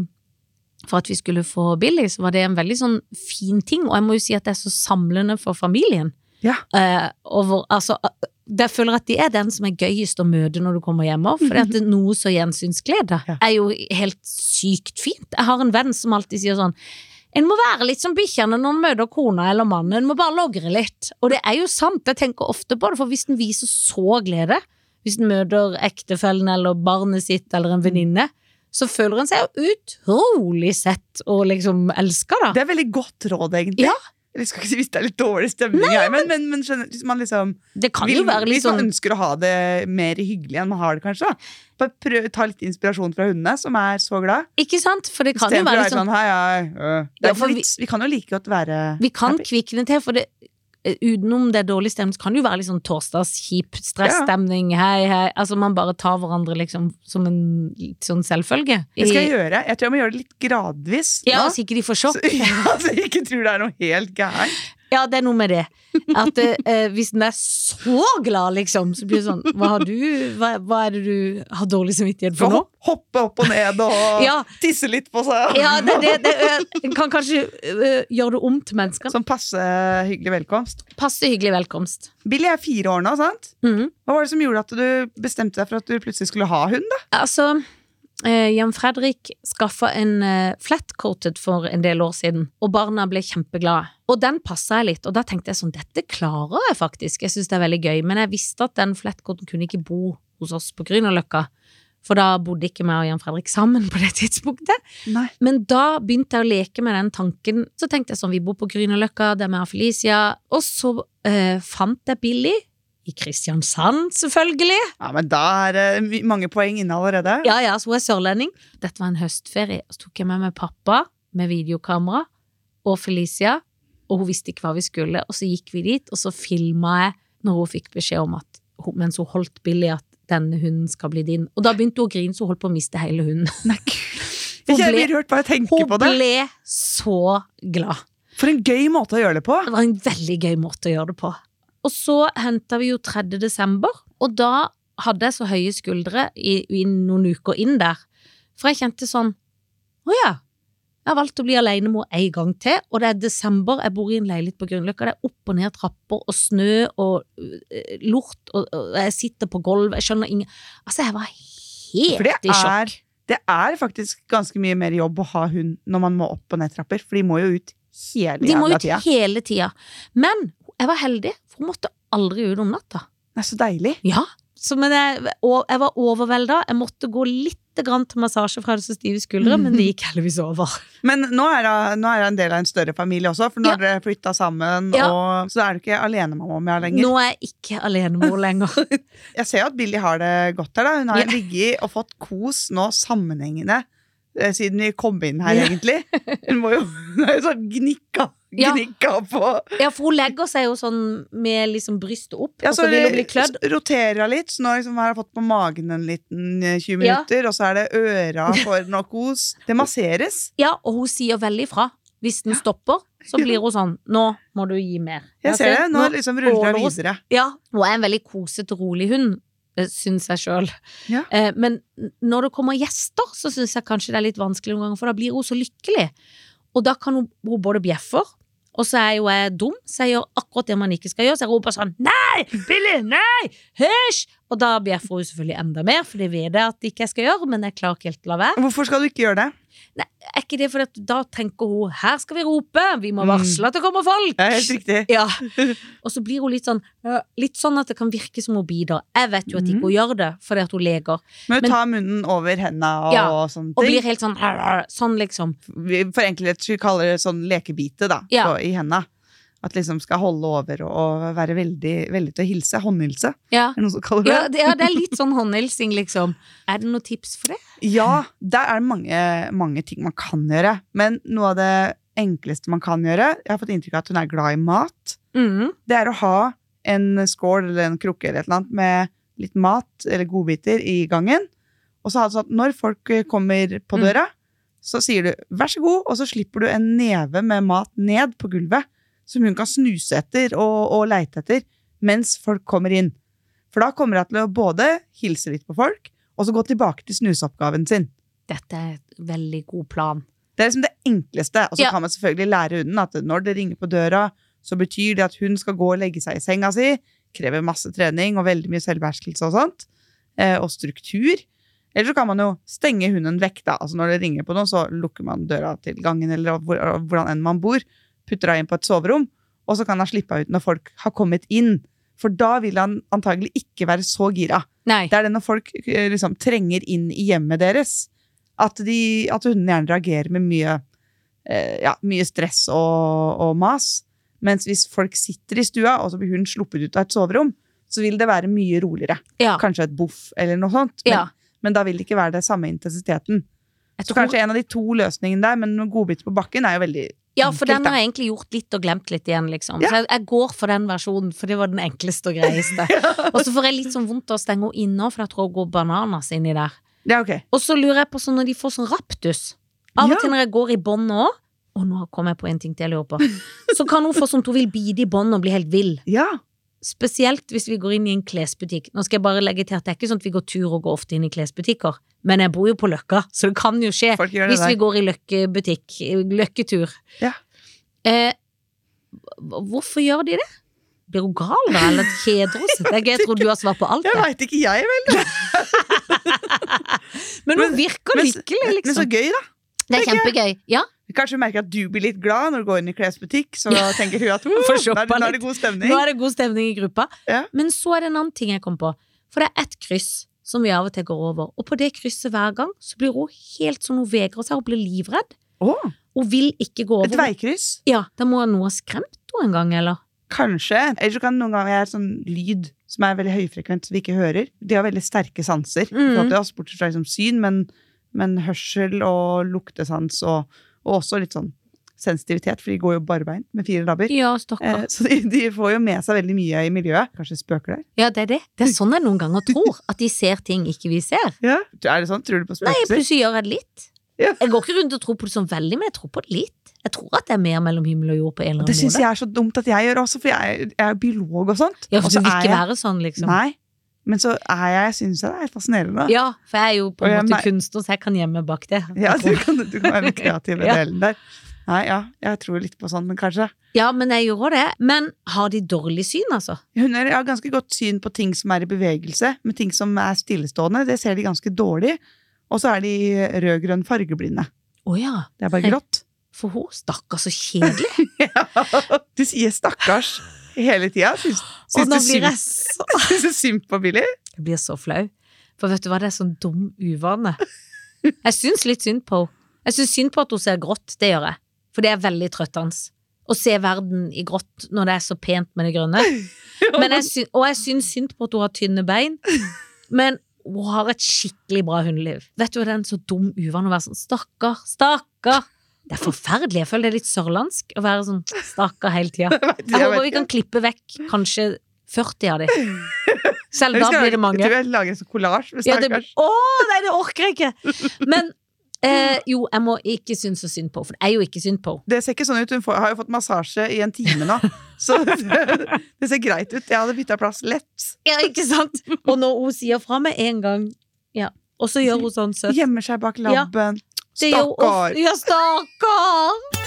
[SPEAKER 3] for at vi skulle få Billy, så var det en veldig sånn fin ting, og jeg må jo si at det er så samlende for familien.
[SPEAKER 2] Ja.
[SPEAKER 3] Eh, over, altså, eh, jeg føler at det er den som er gøyest å møte når du kommer hjemme, for at det er noe så gjensynsglede
[SPEAKER 2] Mhm. Ja.
[SPEAKER 3] er jo helt sykt fint. Jeg har en venn som alltid sier sånn, en må være litt som bikkjene når en møter kona eller mannen. En må bare logre litt. Og det er jo sant, jeg tenker ofte på det, for hvis den viser så glede, hvis den møter ektefellen eller barnet sitt eller
[SPEAKER 2] Mhm.
[SPEAKER 3] en venninne, så føler en seg jo utrolig sett og liksom elska, da.
[SPEAKER 2] Det er veldig godt råd, egentlig.
[SPEAKER 3] Ja.
[SPEAKER 2] Jeg skal ikke si hvis det er litt dårlig stemning, jeg, men, men, men skjønner, hvis man liksom
[SPEAKER 3] Det kan
[SPEAKER 2] vil,
[SPEAKER 3] jo være litt
[SPEAKER 2] Hvis man
[SPEAKER 3] sånn
[SPEAKER 2] ønsker å ha det mer hyggelig enn man har det, kanskje. Da. Bare prøv, ta litt inspirasjon fra hundene, som er så glad.
[SPEAKER 3] Ikke sant? For det kan jo
[SPEAKER 2] Istedenfor å
[SPEAKER 3] være
[SPEAKER 2] være
[SPEAKER 3] litt sånn
[SPEAKER 2] sånn hei, hei. øh. Det
[SPEAKER 3] Ja,
[SPEAKER 2] er ikke
[SPEAKER 3] for
[SPEAKER 2] noe
[SPEAKER 3] vi-
[SPEAKER 2] vits. Vi kan jo like godt være
[SPEAKER 3] Vi kan
[SPEAKER 2] happy.
[SPEAKER 3] kvikne til, for det eh, Utenom det er dårlig stemning, så kan det jo være litt sånn torsdagskjip stresstemning. Hei, hei. Altså, man bare tar hverandre liksom som en litt sånn selvfølge.
[SPEAKER 2] Det skal jeg
[SPEAKER 3] I-
[SPEAKER 2] gjøre. Jeg tror jeg må gjøre det litt gradvis.
[SPEAKER 3] Ja,
[SPEAKER 2] nå.
[SPEAKER 3] så ikke de får sjokk.
[SPEAKER 2] Så, ja, så jeg ikke tror det er noe helt gærent.
[SPEAKER 3] Ja, det er noe med det. At eh, eh, hvis den er så glad, liksom, så blir det sånn Hva har du Hva, hva er det du har dårlig samvittighet for nå?
[SPEAKER 2] Hopp- Hoppe opp og ned og
[SPEAKER 3] Ja.
[SPEAKER 2] tisse litt på seg.
[SPEAKER 3] Ja, det, det, det jeg kan kanskje eh, gjøre det om til mennesker.
[SPEAKER 2] Sånn passe hyggelig velkomst.
[SPEAKER 3] Passe hyggelig velkomst.
[SPEAKER 2] Billy er fire år nå, sant?
[SPEAKER 3] Mhm.
[SPEAKER 2] Hva var det som gjorde at du bestemte deg for at du plutselig skulle ha hund? da?
[SPEAKER 3] Altså, eh, Jan Fredrik skaffa en eh, flatcoated for en del år siden, og barna ble kjempeglade. Og den passa jeg litt, og da tenkte jeg sånn, dette klarer jeg faktisk. Jeg syns det er veldig gøy, men jeg visste at den flatcoaten kunne ikke bo hos oss på Grünerløkka. For da bodde ikke meg og Jan Fredrik sammen på det tidspunktet.
[SPEAKER 2] Nei.
[SPEAKER 3] Men da begynte jeg å leke med den tanken. Så tenkte jeg sånn, vi bor på Grünerløkka, det er meg og Felicia. Og så eh, fant jeg Billy. I Kristiansand, selvfølgelig.
[SPEAKER 2] Ja, men Da er det my- mange poeng inne allerede.
[SPEAKER 3] Ja, ja, så hun er sørlending. Dette var en høstferie, og så tok jeg med meg pappa med videokamera og Felicia, og hun visste ikke hva vi skulle, og så gikk vi dit, og så filma jeg når hun fikk beskjed om at hun, mens hun holdt Billy at denne hunden skal bli din. Og da begynte hun å grine, så hun holdt på å miste hele hunden.
[SPEAKER 2] Nei, gud. jeg kjenner jeg blir rørt bare jeg tenker
[SPEAKER 3] Hun
[SPEAKER 2] på det.
[SPEAKER 3] ble så glad.
[SPEAKER 2] For en gøy måte å gjøre det på.
[SPEAKER 3] Det var en veldig gøy måte å gjøre det på. Og så henta vi jo 3. desember, og da hadde jeg så høye skuldre i, i noen uker inn der. For jeg kjente sånn Å ja. Jeg har valgt å bli alenemor en gang til, og det er desember, jeg bor i en leilighet på Grünerløkka, det er opp og ned trapper og snø og øh, lort, og, og jeg sitter på gulvet, jeg skjønner ingen Altså, jeg var
[SPEAKER 2] For det
[SPEAKER 3] helt i sjokk.
[SPEAKER 2] er, det er faktisk ganske mye mer jobb å ha hund når man må opp og ned trapper, for de må jo ut hele
[SPEAKER 3] De må
[SPEAKER 2] jævla
[SPEAKER 3] ut
[SPEAKER 2] tida.
[SPEAKER 3] hele tida. Men jeg var heldig, for hun måtte aldri ut om natta.
[SPEAKER 2] Det er så deilig.
[SPEAKER 3] Ja, så men jeg, og jeg var overvelda. Jeg måtte gå litt grann til massasje for jeg hadde så stive skuldre, men det gikk heldigvis over.
[SPEAKER 2] Men nå er hun nå er hun en del av en større familie også, for nå
[SPEAKER 3] Ja.
[SPEAKER 2] har dere flytta sammen,
[SPEAKER 3] Ja.
[SPEAKER 2] og, så da er du ikke alenemamma med lenger.
[SPEAKER 3] Nå er jeg ikke alenemor lenger.
[SPEAKER 2] Jeg ser jo at Billy har det godt her. da Hun har
[SPEAKER 3] Ja.
[SPEAKER 2] ligget og fått kos nå sammenhengende eh, siden vi kom inn her,
[SPEAKER 3] Ja.
[SPEAKER 2] egentlig. Hun må jo hun er jo sånn gnikka,
[SPEAKER 3] Ja.
[SPEAKER 2] gnikka på
[SPEAKER 3] Ja, for hun legger seg jo sånn med liksom brystet opp,
[SPEAKER 2] Ja,
[SPEAKER 3] og så vil hun bli klødd.
[SPEAKER 2] s- roterer hun litt, så nå liksom har hun fått på magen en liten eh, 20
[SPEAKER 3] Ja.
[SPEAKER 2] minutter, og så er det øra for noe kos. Det masseres.
[SPEAKER 3] Ja, og hun sier veldig ifra. Hvis den stopper, så blir hun sånn Nå må du gi mer.
[SPEAKER 2] Jeg ser det. Nå liksom ruller
[SPEAKER 3] åler
[SPEAKER 2] hun
[SPEAKER 3] hun-
[SPEAKER 2] videre.
[SPEAKER 3] Ja, hun er en veldig kosete, rolig hund, eh, syns jeg sjøl.
[SPEAKER 2] Ja.
[SPEAKER 3] Eh, men n- når det kommer gjester, så syns jeg kanskje det er litt vanskelig noen ganger, for da blir hun så lykkelig. Og da kan hun, hun både bjeffer, og så er jo jeg dum, så jeg gjør akkurat det man ikke skal gjøre. Så jeg roper sånn 'Nei! Billy! Nei! Hysj!' Og da bjeffer hun selvfølgelig enda mer, for det vet jeg at ikke jeg skal gjøre, men jeg klarer ikke helt å la være.
[SPEAKER 2] Hvorfor skal du ikke gjøre det?
[SPEAKER 3] Er ikke det fordi at da tenker hun 'Her skal vi rope! Vi må varsle at det kommer
[SPEAKER 2] Mm.
[SPEAKER 3] folk!'
[SPEAKER 2] Det er helt riktig.
[SPEAKER 3] Ja. Og så blir hun litt sånn øh, Litt sånn at det kan virke som hun bider. Jeg vet jo at ikke hun gjør det, fordi at hun leker.
[SPEAKER 2] Men
[SPEAKER 3] Men-
[SPEAKER 2] ta munnen over henda og,
[SPEAKER 3] Ja,
[SPEAKER 2] sånne
[SPEAKER 3] Og
[SPEAKER 2] ting.
[SPEAKER 3] blir helt sånn «Arr, arr», Sånn, liksom.
[SPEAKER 2] vi for enkelhet skyld kaller det sånn lekebite da,
[SPEAKER 3] Ja.
[SPEAKER 2] på, i henda. At liksom skal holde over og, og være veldig, veldig til å hilse. Håndhilse,
[SPEAKER 3] Ja.
[SPEAKER 2] er det noen som kaller det.
[SPEAKER 3] Ja, det, ja, det er litt sånn håndhilsing, liksom. Er det noe tips for det?
[SPEAKER 2] Ja, der er det mange, mange ting man kan gjøre. Men noe av det enkleste man kan gjøre, jeg har fått inntrykk av at hun er glad i mat,
[SPEAKER 3] Mhm.
[SPEAKER 2] det er å ha en skål eller en krukke eller et eller annet med litt mat eller godbiter i gangen. Og så ha det sånn at når folk eh, kommer på
[SPEAKER 3] Mm.
[SPEAKER 2] døra, så sier du 'vær så god', og så slipper du en neve med mat ned på gulvet, som hun kan snuse etter og, og leite etter mens folk kommer inn. For da kommer hun til å både hilse litt på folk, og så gå tilbake til snuseoppgaven sin.
[SPEAKER 3] Dette er et veldig god plan.
[SPEAKER 2] Det er liksom det enkleste. Og så
[SPEAKER 3] Ja.
[SPEAKER 2] kan man selvfølgelig lære hunden at når det ringer på døra, så betyr det at hun skal gå og legge seg i senga si. Krever masse trening og veldig mye selvbeherskelse og sånt. Eh, og struktur. Eller så kan man jo stenge hunden vekk, da. Altså når det ringer på noen, så lukker man døra til gangen eller hvor, hvordan enn man bor. Putter henne inn på et soverom, og så kan han slippe henne ut når folk har kommet inn. For da vil han antagelig ikke være så gira.
[SPEAKER 3] Nei.
[SPEAKER 2] Det er det når folk eh, liksom, trenger inn i hjemmet deres, at, de, at hundene gjerne reagerer med mye, eh, ja, mye stress og, og mas. Mens hvis folk sitter i stua, og så blir hun sluppet ut av et soverom, så vil det være mye roligere.
[SPEAKER 3] Ja.
[SPEAKER 2] Kanskje et boff eller noe sånt. Men,
[SPEAKER 3] ja.
[SPEAKER 2] men da vil det ikke være det samme intensiteten.
[SPEAKER 3] Jeg
[SPEAKER 2] Så
[SPEAKER 3] tror,
[SPEAKER 2] kanskje en av de to løsningene der, men godbiter på bakken er jo veldig
[SPEAKER 3] ja, for
[SPEAKER 2] enkelt,
[SPEAKER 3] den
[SPEAKER 2] da.
[SPEAKER 3] har jeg egentlig gjort litt og glemt litt igjen, liksom.
[SPEAKER 2] Ja.
[SPEAKER 3] Så jeg, jeg går for den versjonen, for det var den enkleste og greieste. Og så får jeg litt sånn vondt av å stenge henne inne, for jeg tror hun går bananas inni der.
[SPEAKER 2] Ja, ok.
[SPEAKER 3] Og så lurer jeg på sånn når de får sånn raptus. Av og
[SPEAKER 2] Ja.
[SPEAKER 3] til når jeg går i bånd nå Og nå kom jeg på en ting til jeg lurer på. Så kan hun få sånn at hun vil bite i bånd og bli helt vill.
[SPEAKER 2] Ja.
[SPEAKER 3] Spesielt hvis vi går inn i en klesbutikk. Nå skal jeg bare legge til at det er ikke sånn at vi går tur og går ofte inn i klesbutikker, men jeg bor jo på Løkka, så det kan jo skje
[SPEAKER 2] Folk gjør det
[SPEAKER 3] hvis vi
[SPEAKER 2] der.
[SPEAKER 3] går i løkkebutikk, løkketur.
[SPEAKER 2] Ja.
[SPEAKER 3] Eh, h- hvorfor gjør de det? Blir hun gal da, eller kjeder hun seg? Det er gøy, Jeg tror du har svar på alt
[SPEAKER 2] Jeg
[SPEAKER 3] det.
[SPEAKER 2] veit ikke, jeg vel.
[SPEAKER 3] Men
[SPEAKER 2] men-
[SPEAKER 3] hun virker
[SPEAKER 2] men-
[SPEAKER 3] lykkelig,
[SPEAKER 2] Men så
[SPEAKER 3] liksom.
[SPEAKER 2] gøy, da.
[SPEAKER 3] Det er kjempegøy. Ja,
[SPEAKER 2] Kanskje hun merker at du blir litt glad når du går inn i klesbutikk. Så tenker hun at uh,
[SPEAKER 3] Får shoppa
[SPEAKER 2] nå er det- nå er det
[SPEAKER 3] litt.
[SPEAKER 2] god
[SPEAKER 3] nå
[SPEAKER 2] stemning.
[SPEAKER 3] er det god stemning i gruppa.
[SPEAKER 2] Ja.
[SPEAKER 3] Men så er det en annen ting jeg kom på. For det er ett kryss som vi av og til går over, og på det krysset hver gang så blir hun helt sånn hun vegrer seg, hun blir livredd.
[SPEAKER 2] Åh,
[SPEAKER 3] Hun vil ikke gå
[SPEAKER 2] et
[SPEAKER 3] over.
[SPEAKER 2] veikryss.
[SPEAKER 3] Ja, Da må noe ha skremt henne en gang, eller?
[SPEAKER 2] Kanskje. Eller så kan noen ganger være sånn lyd som er veldig høyfrekvent, som vi ikke hører. De har veldig sterke sanser. i
[SPEAKER 3] Mm.
[SPEAKER 2] forhold til oss, bortsett fra liksom syn, men, men hørsel og luktesans og, og også litt sånn sensitivitet, for de går jo barbeint med fire labber.
[SPEAKER 3] Ja, stakkar.
[SPEAKER 2] Eh, så de, de får jo med seg veldig mye i miljøet. Kanskje spøker der?
[SPEAKER 3] Ja, det er det. Det er sånn jeg noen ganger tror. At de ser ting ikke vi ser.
[SPEAKER 2] Ja. Er det sånn? Tror du på
[SPEAKER 3] Nei,
[SPEAKER 2] spøkelser?
[SPEAKER 3] plutselig gjør jeg det litt.
[SPEAKER 2] Ja.
[SPEAKER 3] Jeg går ikke rundt og tror på det sånn veldig, men jeg tror på det litt. Jeg tror at det er mer mellom himmel og jord på en eller
[SPEAKER 2] Det
[SPEAKER 3] annen
[SPEAKER 2] syns
[SPEAKER 3] måte.
[SPEAKER 2] jeg er så dumt at jeg gjør også, for jeg, er- jeg er biolog og sånt.
[SPEAKER 3] Ja, for
[SPEAKER 2] Og så
[SPEAKER 3] du vil
[SPEAKER 2] er
[SPEAKER 3] ikke
[SPEAKER 2] jeg-
[SPEAKER 3] være sånn, liksom.
[SPEAKER 2] Nei. Men så er jeg, syns jeg det er fascinerende.
[SPEAKER 3] Ja, for jeg er jo på
[SPEAKER 2] Og
[SPEAKER 3] en
[SPEAKER 2] jeg
[SPEAKER 3] måte
[SPEAKER 2] mer-
[SPEAKER 3] kunstner, så jeg kan gjemme bak det.
[SPEAKER 2] Ja, du kan, du kan være den kreative
[SPEAKER 3] Ja.
[SPEAKER 2] delen der. Nei, ja, jeg tror litt på sånn, men kanskje.
[SPEAKER 3] Ja, men jeg gjør det. Men har de dårlig syn, altså?
[SPEAKER 2] Hunder har ganske godt syn på ting som er i bevegelse, men ting som er stillestående, det ser de ganske dårlig. Og så er de rød-grønn fargeblinde.
[SPEAKER 3] Å ja.
[SPEAKER 2] Det er bare grått.
[SPEAKER 3] For hun, stakkar, så kjedelig.
[SPEAKER 2] Du sier stakkars hele tida. Syns,
[SPEAKER 3] Og
[SPEAKER 2] syns
[SPEAKER 3] nå
[SPEAKER 2] du
[SPEAKER 3] blir jeg
[SPEAKER 2] synd-
[SPEAKER 3] så
[SPEAKER 2] syns du synd på Billy?
[SPEAKER 3] Jeg blir så flau. For vet du hva, det er sånn dum uvane. Jeg syns litt synd på henne. Jeg syns synd på at hun ser grått, det gjør jeg. For det er veldig trøttende. Å se verden i grått når det er så pent med det grønne. Men jeg syn- og jeg syns synd på at hun har tynne bein. Men hun har et skikkelig bra hundeliv. Vet du hva, det er en så dum uvane å være sånn stakkar, stakkar. Det er forferdelig. Jeg føler det er litt sørlandsk å være sånn stakkar hele tida.
[SPEAKER 2] Jeg vet-
[SPEAKER 3] Jeg
[SPEAKER 2] jeg vet
[SPEAKER 3] håper vi
[SPEAKER 2] ikke.
[SPEAKER 3] kan klippe vekk kanskje 40 av de. Selv
[SPEAKER 2] Jeg
[SPEAKER 3] da
[SPEAKER 2] skal
[SPEAKER 3] blir
[SPEAKER 2] lage-
[SPEAKER 3] det mange.
[SPEAKER 2] Jeg tror jeg lager en sånn kollasj med
[SPEAKER 3] Ja, det,
[SPEAKER 2] stakkars.
[SPEAKER 3] å, nei, det orker jeg ikke! Men eh, jo, jeg må ikke synes så synd på henne, for det er jo ikke synd på henne.
[SPEAKER 2] Det ser ikke sånn ut. Hun får, har jo fått massasje i en time nå. Så det, det ser greit ut. Jeg hadde bytta plass lett.
[SPEAKER 3] Ja, ikke sant? Og når hun sier fra med en gang, ja. og så gjør hun sånn søtt.
[SPEAKER 2] Gjemmer seg bak
[SPEAKER 3] Ja.
[SPEAKER 2] labben.
[SPEAKER 3] Det gjør hun ofte.
[SPEAKER 2] Stakkar.
[SPEAKER 3] Ja, stakkar!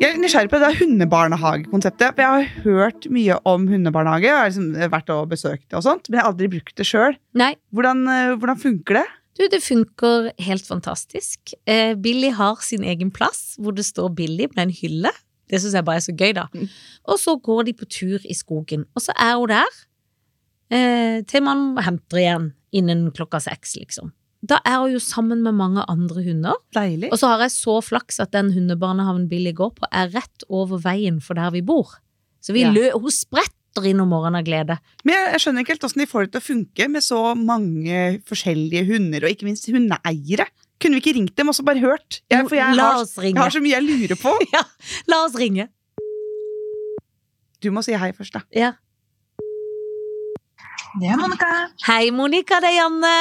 [SPEAKER 2] Jeg er nysgjerrig på det der hundebarnehagekonseptet. For jeg har hørt mye om hundebarnehage. Jeg har liksom vært og besøkt det og sånt, men jeg har aldri brukt det sjøl.
[SPEAKER 3] Nei,
[SPEAKER 2] Hvordan, eh, hvordan funker det?
[SPEAKER 3] du, det funker helt fantastisk. Eh, Billy har sin egen plass, hvor det står Billy med en hylle. Det syns jeg bare er så gøy, da. Og så går de på tur i skogen, og så er hun der eh, til man henter igjen innen klokka seks, liksom. Da er hun jo sammen med mange andre hunder.
[SPEAKER 2] Deilig.
[SPEAKER 3] Og så har jeg så flaks at den hundebarnehaven Billy går på, er rett over veien for der vi bor. Så vi
[SPEAKER 2] Ja.
[SPEAKER 3] lø hun spretter inn om morgenen av glede.
[SPEAKER 2] Men jeg, jeg skjønner ikke helt åssen de får det til å funke med så mange forskjellige hunder, og ikke minst hundeeiere. Kunne vi ikke ringt dem og så bare hørt? Jeg, for jeg
[SPEAKER 3] La
[SPEAKER 2] har,
[SPEAKER 3] oss
[SPEAKER 2] jeg
[SPEAKER 3] ringe.
[SPEAKER 2] har så mye jeg lurer på.
[SPEAKER 3] La oss ringe.
[SPEAKER 2] Du må si hei først, da.
[SPEAKER 3] Ja.
[SPEAKER 4] Det er Monica.
[SPEAKER 3] Hei, Monica, det er Janne.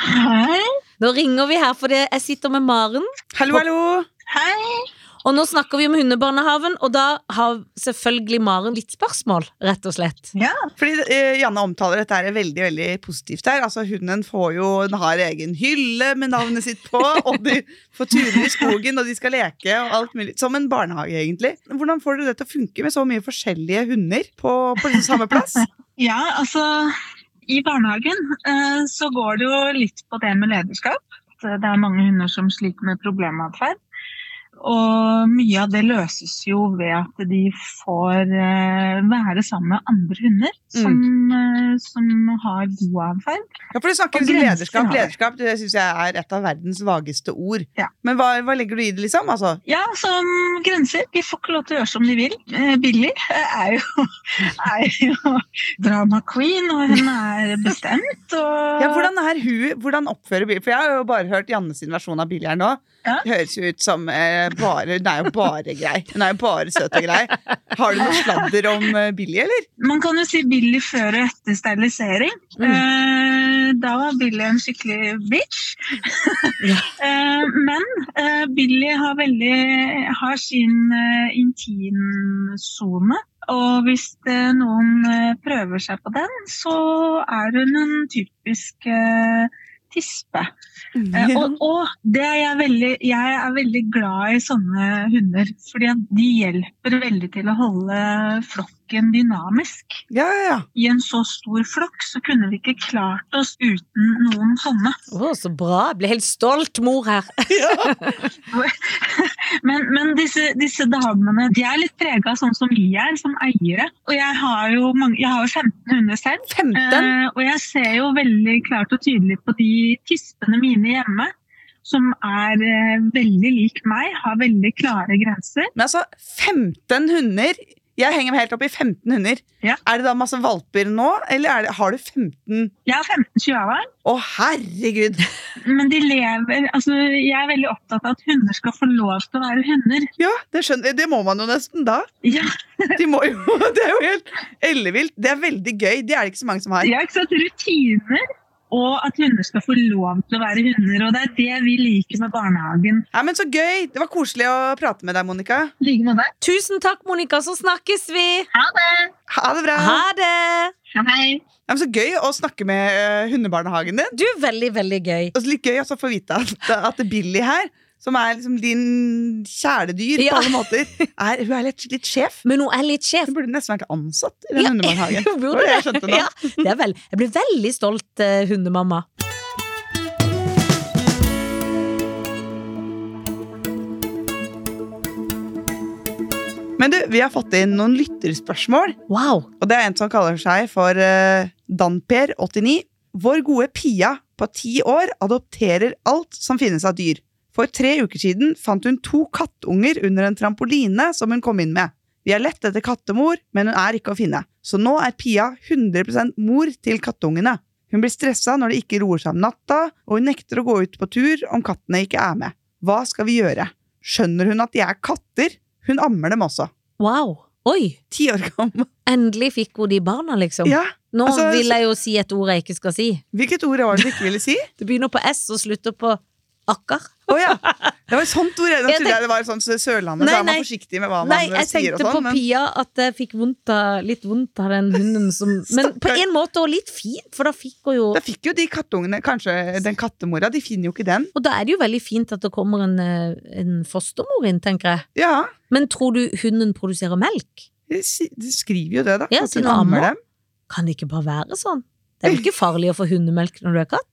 [SPEAKER 4] Hei.
[SPEAKER 3] Nå ringer vi her fordi jeg sitter med Maren,
[SPEAKER 2] Hallo, hallo!
[SPEAKER 4] Hei.
[SPEAKER 3] og nå snakker vi om hundebarnehaven, og da har selvfølgelig Maren litt spørsmål, rett og slett.
[SPEAKER 2] Fordi eh, Janne omtaler dette her veldig veldig positivt. her Altså Hunden får jo, den har egen hylle med navnet sitt på, og de får turer i skogen, og de skal leke og alt mulig. Som en barnehage, egentlig. Hvordan får dere det til å funke med så mye forskjellige hunder på, på liksom samme plass?
[SPEAKER 4] Ja, altså i barnehagen eh, så går eh, det jo litt på det med lederskap. Det er mange hunder som sliter med problematferd. Og mye av det løses jo ved at de får eh, være sammen med andre hunder som, eh, som har god atferd.
[SPEAKER 2] Ja, for du snakker
[SPEAKER 4] Og
[SPEAKER 2] liksom
[SPEAKER 4] grenser
[SPEAKER 2] lederskap.
[SPEAKER 4] har det.
[SPEAKER 2] Lederskap det syns jeg er et av verdens vageste ord.
[SPEAKER 4] Ja.
[SPEAKER 2] Men hva, hva legger du i det, liksom? Altså,
[SPEAKER 4] Ja, som grenser. De får ikke lov til å gjøre som de vil. Eh, Billy eh, er jo, er jo drama queen, og hun er bestemt. Og
[SPEAKER 2] ja, hvordan, er hun, hvordan oppfører Billy For jeg har jo bare hørt Janne sin versjon av Billy her nå.
[SPEAKER 4] Ja.
[SPEAKER 2] Det høres jo ut som eh, bare Hun er jo bare grei. Hun er jo bare søt og grei. Har du noe sladder om eh, Billy, eller?
[SPEAKER 4] Man kan jo si Billy før og etter sterilisering.
[SPEAKER 3] Mm.
[SPEAKER 4] Eh, da var Billy en skikkelig bitch.
[SPEAKER 3] Ja.
[SPEAKER 4] eh, men eh, Billy har, veldig, har sin eh, intimsone. Og hvis eh, noen eh, prøver seg på den, så er hun en typisk eh, tispe. Eh, og, og det er jeg, veldig, jeg er veldig glad i sånne hunder, fordi at de hjelper veldig til å holde flokken dynamisk.
[SPEAKER 2] Ja, ja, ja.
[SPEAKER 4] I en så stor flokk så kunne vi ikke klart oss uten noen sånne.
[SPEAKER 3] Å, så bra. Jeg Ble helt stolt, mor her.
[SPEAKER 4] Men, men disse, disse damene de er litt prega sånn som vi er, som eiere. Og jeg har jo, mange, jeg har jo 15 hunder selv.
[SPEAKER 2] 15?
[SPEAKER 4] Eh, og jeg ser jo veldig klart og tydelig på de tispene mine hjemme, som er eh, veldig lik meg, har veldig klare grenser.
[SPEAKER 2] Men altså, 15 hunder Jeg henger meg helt opp i 15 hunder.
[SPEAKER 4] Ja.
[SPEAKER 2] Er det da masse valper nå, eller er det, har du 15
[SPEAKER 4] Jeg har 15 chihuahuaer,
[SPEAKER 2] Å, herregud!
[SPEAKER 4] men de lever altså Jeg er veldig opptatt av at hunder skal få lov til å være hunder.
[SPEAKER 2] Ja, det skjønner Det må man jo nesten da.
[SPEAKER 4] Ja,
[SPEAKER 2] De må jo, det er jo helt ellevilt. Det er veldig gøy. Det er det ikke så mange som har.
[SPEAKER 4] ja ikke sant? Rutiner. Og at hunder skal få lov til å være hunder. Og det er det vi liker med barnehagen.
[SPEAKER 2] Nei, men Så gøy! Det var koselig å prate med deg, Monica.
[SPEAKER 4] I like måte.
[SPEAKER 3] Tusen takk, Monica, så snakkes vi.
[SPEAKER 4] Ha det!
[SPEAKER 2] Ha det bra!
[SPEAKER 3] Ha det.
[SPEAKER 4] Hei.
[SPEAKER 2] Nei, men Så gøy å snakke med eh, hundebarnehagen din.
[SPEAKER 3] Du, veldig, veldig gøy.
[SPEAKER 2] Og så litt gøy også å få vite at, at Billy her, som er liksom din kjæledyr
[SPEAKER 3] Ja.
[SPEAKER 2] på alle måter, er, hun er litt, litt sjef.
[SPEAKER 3] Men hun er litt sjef.
[SPEAKER 2] Hun burde nesten vært ansatt i den
[SPEAKER 3] Ja,
[SPEAKER 2] hundebarnehagen.
[SPEAKER 3] hun burde
[SPEAKER 2] Det var det jeg skjønte nå.
[SPEAKER 3] Ja, det er vel, jeg blir veldig stolt, eh, hundemamma.
[SPEAKER 2] Men du, vi har fått inn noen lytterspørsmål.
[SPEAKER 3] Wow.
[SPEAKER 2] Og det er en som kaller seg for eh, Danper89. Vår gode Pia på ti år adopterer alt som finnes av dyr. For tre uker siden fant hun to kattunger under en trampoline som hun kom inn med. Vi har lett etter kattemor, men hun er ikke å finne. Så nå er Pia 100 mor til kattungene. Hun blir stressa når de ikke roer seg om natta, og hun nekter å gå ut på tur om kattene ikke er med. Hva skal vi gjøre? Skjønner hun at de er katter? Hun ammer dem også.
[SPEAKER 3] Wow. Oi.
[SPEAKER 2] Ti år gammel.
[SPEAKER 3] Endelig fikk hun de barna, liksom.
[SPEAKER 2] Ja,
[SPEAKER 3] Nå
[SPEAKER 2] altså-
[SPEAKER 3] vil jeg jo si et ord jeg ikke skal si.
[SPEAKER 2] Hvilket ord var det du ikke ville si?
[SPEAKER 3] Det begynner på S og slutter på akker.
[SPEAKER 2] Å ja. Det var et sånt ord. Nå
[SPEAKER 3] Jeg
[SPEAKER 2] trodde jeg det var sånn Sørlandet,
[SPEAKER 3] Nei,
[SPEAKER 2] så er man
[SPEAKER 3] nei.
[SPEAKER 2] forsiktig med hva man
[SPEAKER 3] Nei,
[SPEAKER 2] sier
[SPEAKER 3] jeg
[SPEAKER 2] og
[SPEAKER 3] tenkte på
[SPEAKER 2] sånn. Men
[SPEAKER 3] Pia at jeg fikk vondt av, litt vondt av den hunden som Men på
[SPEAKER 2] Stakkar.
[SPEAKER 3] en måte også litt fint, for da fikk hun jo
[SPEAKER 2] da fikk jo de kattungene kanskje den kattemora. De finner jo ikke den.
[SPEAKER 3] Og da er det jo veldig fint at det kommer en, eh, en fostermor inn, tenker jeg.
[SPEAKER 2] Ja,
[SPEAKER 3] Men tror du hunden produserer melk?
[SPEAKER 2] De si- de skriver jo det, da.
[SPEAKER 3] Ja,
[SPEAKER 2] at
[SPEAKER 3] siden
[SPEAKER 2] hun
[SPEAKER 3] ammer.
[SPEAKER 2] dem.
[SPEAKER 3] Kan det ikke bare være sånn? Det er jo ikke farlig å få hundemelk når du er katt?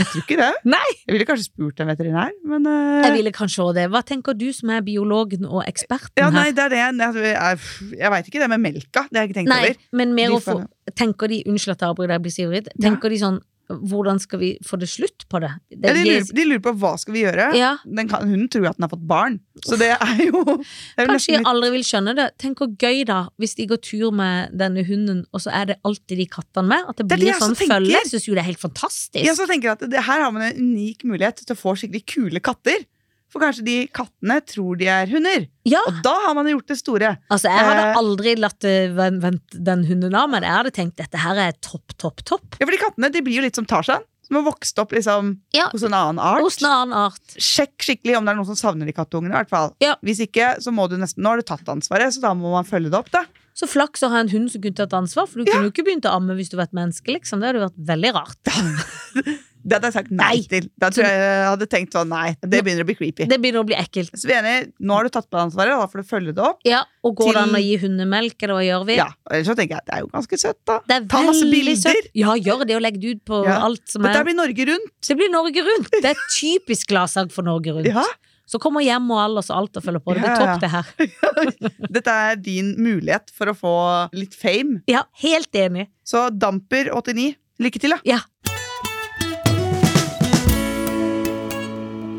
[SPEAKER 2] Jeg tror ikke det.
[SPEAKER 3] Nei.
[SPEAKER 2] Jeg ville kanskje spurt en veterinær, men eh,
[SPEAKER 3] Jeg ville kanskje også det. Hva tenker du som er biologen og eksperten
[SPEAKER 2] ja,
[SPEAKER 3] her?
[SPEAKER 2] nei, det er det. Jeg, jeg, jeg veit ikke det med melka. Det har jeg ikke tenkt
[SPEAKER 3] Nei,
[SPEAKER 2] over.
[SPEAKER 3] men mer
[SPEAKER 2] De
[SPEAKER 3] å få Tenker de, unnskyld at jeg avbryter deg, jeg blir så ivrig. Tenker de sånn, hvordan skal vi få det slutt på det?
[SPEAKER 2] Ja,
[SPEAKER 3] det
[SPEAKER 2] de,
[SPEAKER 3] gis-
[SPEAKER 2] lurer, de lurer på hva skal vi gjøre.
[SPEAKER 3] ja,
[SPEAKER 2] Den kan, hunden tror jo at den har fått barn, så det er jo det er jo nesten
[SPEAKER 3] kanskje de aldri vil skjønne det. Tenk hvor gøy da, hvis de går tur med denne hunden, og så er det alltid de kattene med. At
[SPEAKER 2] Det
[SPEAKER 3] det
[SPEAKER 2] er det
[SPEAKER 3] blir
[SPEAKER 2] jeg
[SPEAKER 3] sånn
[SPEAKER 2] også tenker.
[SPEAKER 3] følge. Jeg syns jo det er helt fantastisk.
[SPEAKER 2] Ja, så tenker jeg at det, Her har man en unik mulighet til å få skikkelig kule katter. For kanskje de kattene tror de er hunder.
[SPEAKER 3] Ja,
[SPEAKER 2] Og da har man gjort det store.
[SPEAKER 3] altså jeg hadde
[SPEAKER 2] Eh.
[SPEAKER 3] aldri latt eh, ven- vent den hunden av, men jeg hadde tenkt dette her er topp, topp, topp.
[SPEAKER 2] Ja, for de kattene de blir jo litt som Tarzan, som har vokst opp liksom,
[SPEAKER 3] Ja.
[SPEAKER 2] hos en annen art.
[SPEAKER 3] Hos en annen art.
[SPEAKER 2] Sjekk skikkelig om det er noen som savner de kattungene. i hvert fall.
[SPEAKER 3] Ja.
[SPEAKER 2] Hvis ikke, så må du nesten, Nå har du tatt ansvaret, så da må man følge det opp. da.
[SPEAKER 3] Så flaks å ha en hund som kunne tatt ansvar, for du kunne jo ikke begynt å amme hvis du var et menneske, liksom. Det hadde jo vært veldig rart.
[SPEAKER 2] Det hadde jeg sagt nei,
[SPEAKER 3] Nei.
[SPEAKER 2] til. Da tror jeg jeg hadde tenkt sånn, nei, Det begynner å bli creepy.
[SPEAKER 3] Det begynner å bli ekkelt.
[SPEAKER 2] Så vi er enige, Nå har du tatt på deg ansvaret, da får du følge det opp.
[SPEAKER 3] Ja, og
[SPEAKER 2] Til-
[SPEAKER 3] går det an å gi hundemelk, eller hva gjør vi?
[SPEAKER 2] Ja, og Ellers så tenker jeg at det er jo ganske søtt, da.
[SPEAKER 3] Det er
[SPEAKER 2] Ta masse
[SPEAKER 3] veldig
[SPEAKER 2] bilder.
[SPEAKER 3] søtt. Ja, gjør det, og legg det ut på
[SPEAKER 2] Ja.
[SPEAKER 3] alt som
[SPEAKER 2] Dette
[SPEAKER 3] er
[SPEAKER 2] blir Norge rundt.
[SPEAKER 3] Det blir Norge Rundt! Det er typisk gladsag for Norge Rundt.
[SPEAKER 2] Ja.
[SPEAKER 3] Så kommer hjem og alles og alt og følger på. Det
[SPEAKER 2] Ja,
[SPEAKER 3] blir
[SPEAKER 2] ja.
[SPEAKER 3] topp, det her.
[SPEAKER 2] Dette er din mulighet for å få litt fame.
[SPEAKER 3] Ja, helt enig.
[SPEAKER 2] Så Damper89, lykke til, da.
[SPEAKER 3] Ja.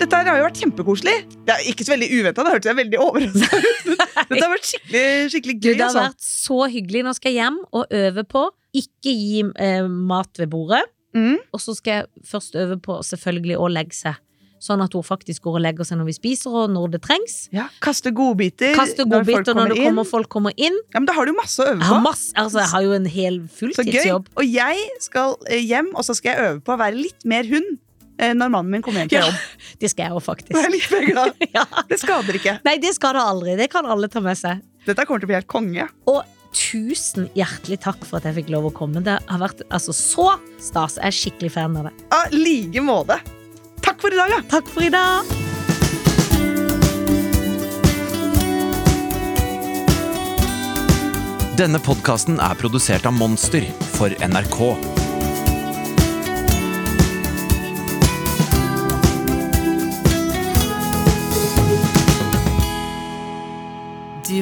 [SPEAKER 2] Dette her har jo vært kjempekoselig. Det er ikke så veldig uventa, det hørtes jeg veldig overraska ut. men Dette har vært skikkelig, skikkelig
[SPEAKER 3] Du,
[SPEAKER 2] gøy.
[SPEAKER 3] det har
[SPEAKER 2] altså.
[SPEAKER 3] vært så hyggelig. Nå skal jeg hjem og øve på ikke gi eh, mat ved bordet.
[SPEAKER 2] Mm.
[SPEAKER 3] Og så skal jeg først øve på selvfølgelig å legge seg. Sånn at hun faktisk går og legger seg når vi spiser, og når det trengs.
[SPEAKER 2] Ja, kaste godbiter
[SPEAKER 3] Kaste godbiter når, det kommer, folk kommer inn.
[SPEAKER 2] Ja, men Da har du jo masse å
[SPEAKER 3] Jeg
[SPEAKER 2] øve
[SPEAKER 3] har,
[SPEAKER 2] på.
[SPEAKER 3] masse, altså, jeg har jo en hel
[SPEAKER 2] Så gøy.
[SPEAKER 3] fulltidsjobb.
[SPEAKER 2] Og jeg skal eh, hjem, og så skal jeg øve på å være litt mer hund eh, når mannen min kommer hjem fra
[SPEAKER 3] Ja,
[SPEAKER 2] jobb.
[SPEAKER 3] det skal jeg jo
[SPEAKER 2] Jeg er
[SPEAKER 3] faktisk.
[SPEAKER 2] litt mer glad.
[SPEAKER 3] Ja.
[SPEAKER 2] Det skader ikke.
[SPEAKER 3] Nei, det skal det aldri. Det kan alle ta med seg.
[SPEAKER 2] Dette kommer til å bli helt konge.
[SPEAKER 3] Tusen hjertelig takk for at jeg fikk lov å komme. Det har vært altså, så stas. Jeg er skikkelig fan av det.
[SPEAKER 2] Av like måte. Takk for i dag, da.
[SPEAKER 3] Takk for i dag.
[SPEAKER 5] Denne podkasten er produsert av Monster for NRK.
[SPEAKER 1] Du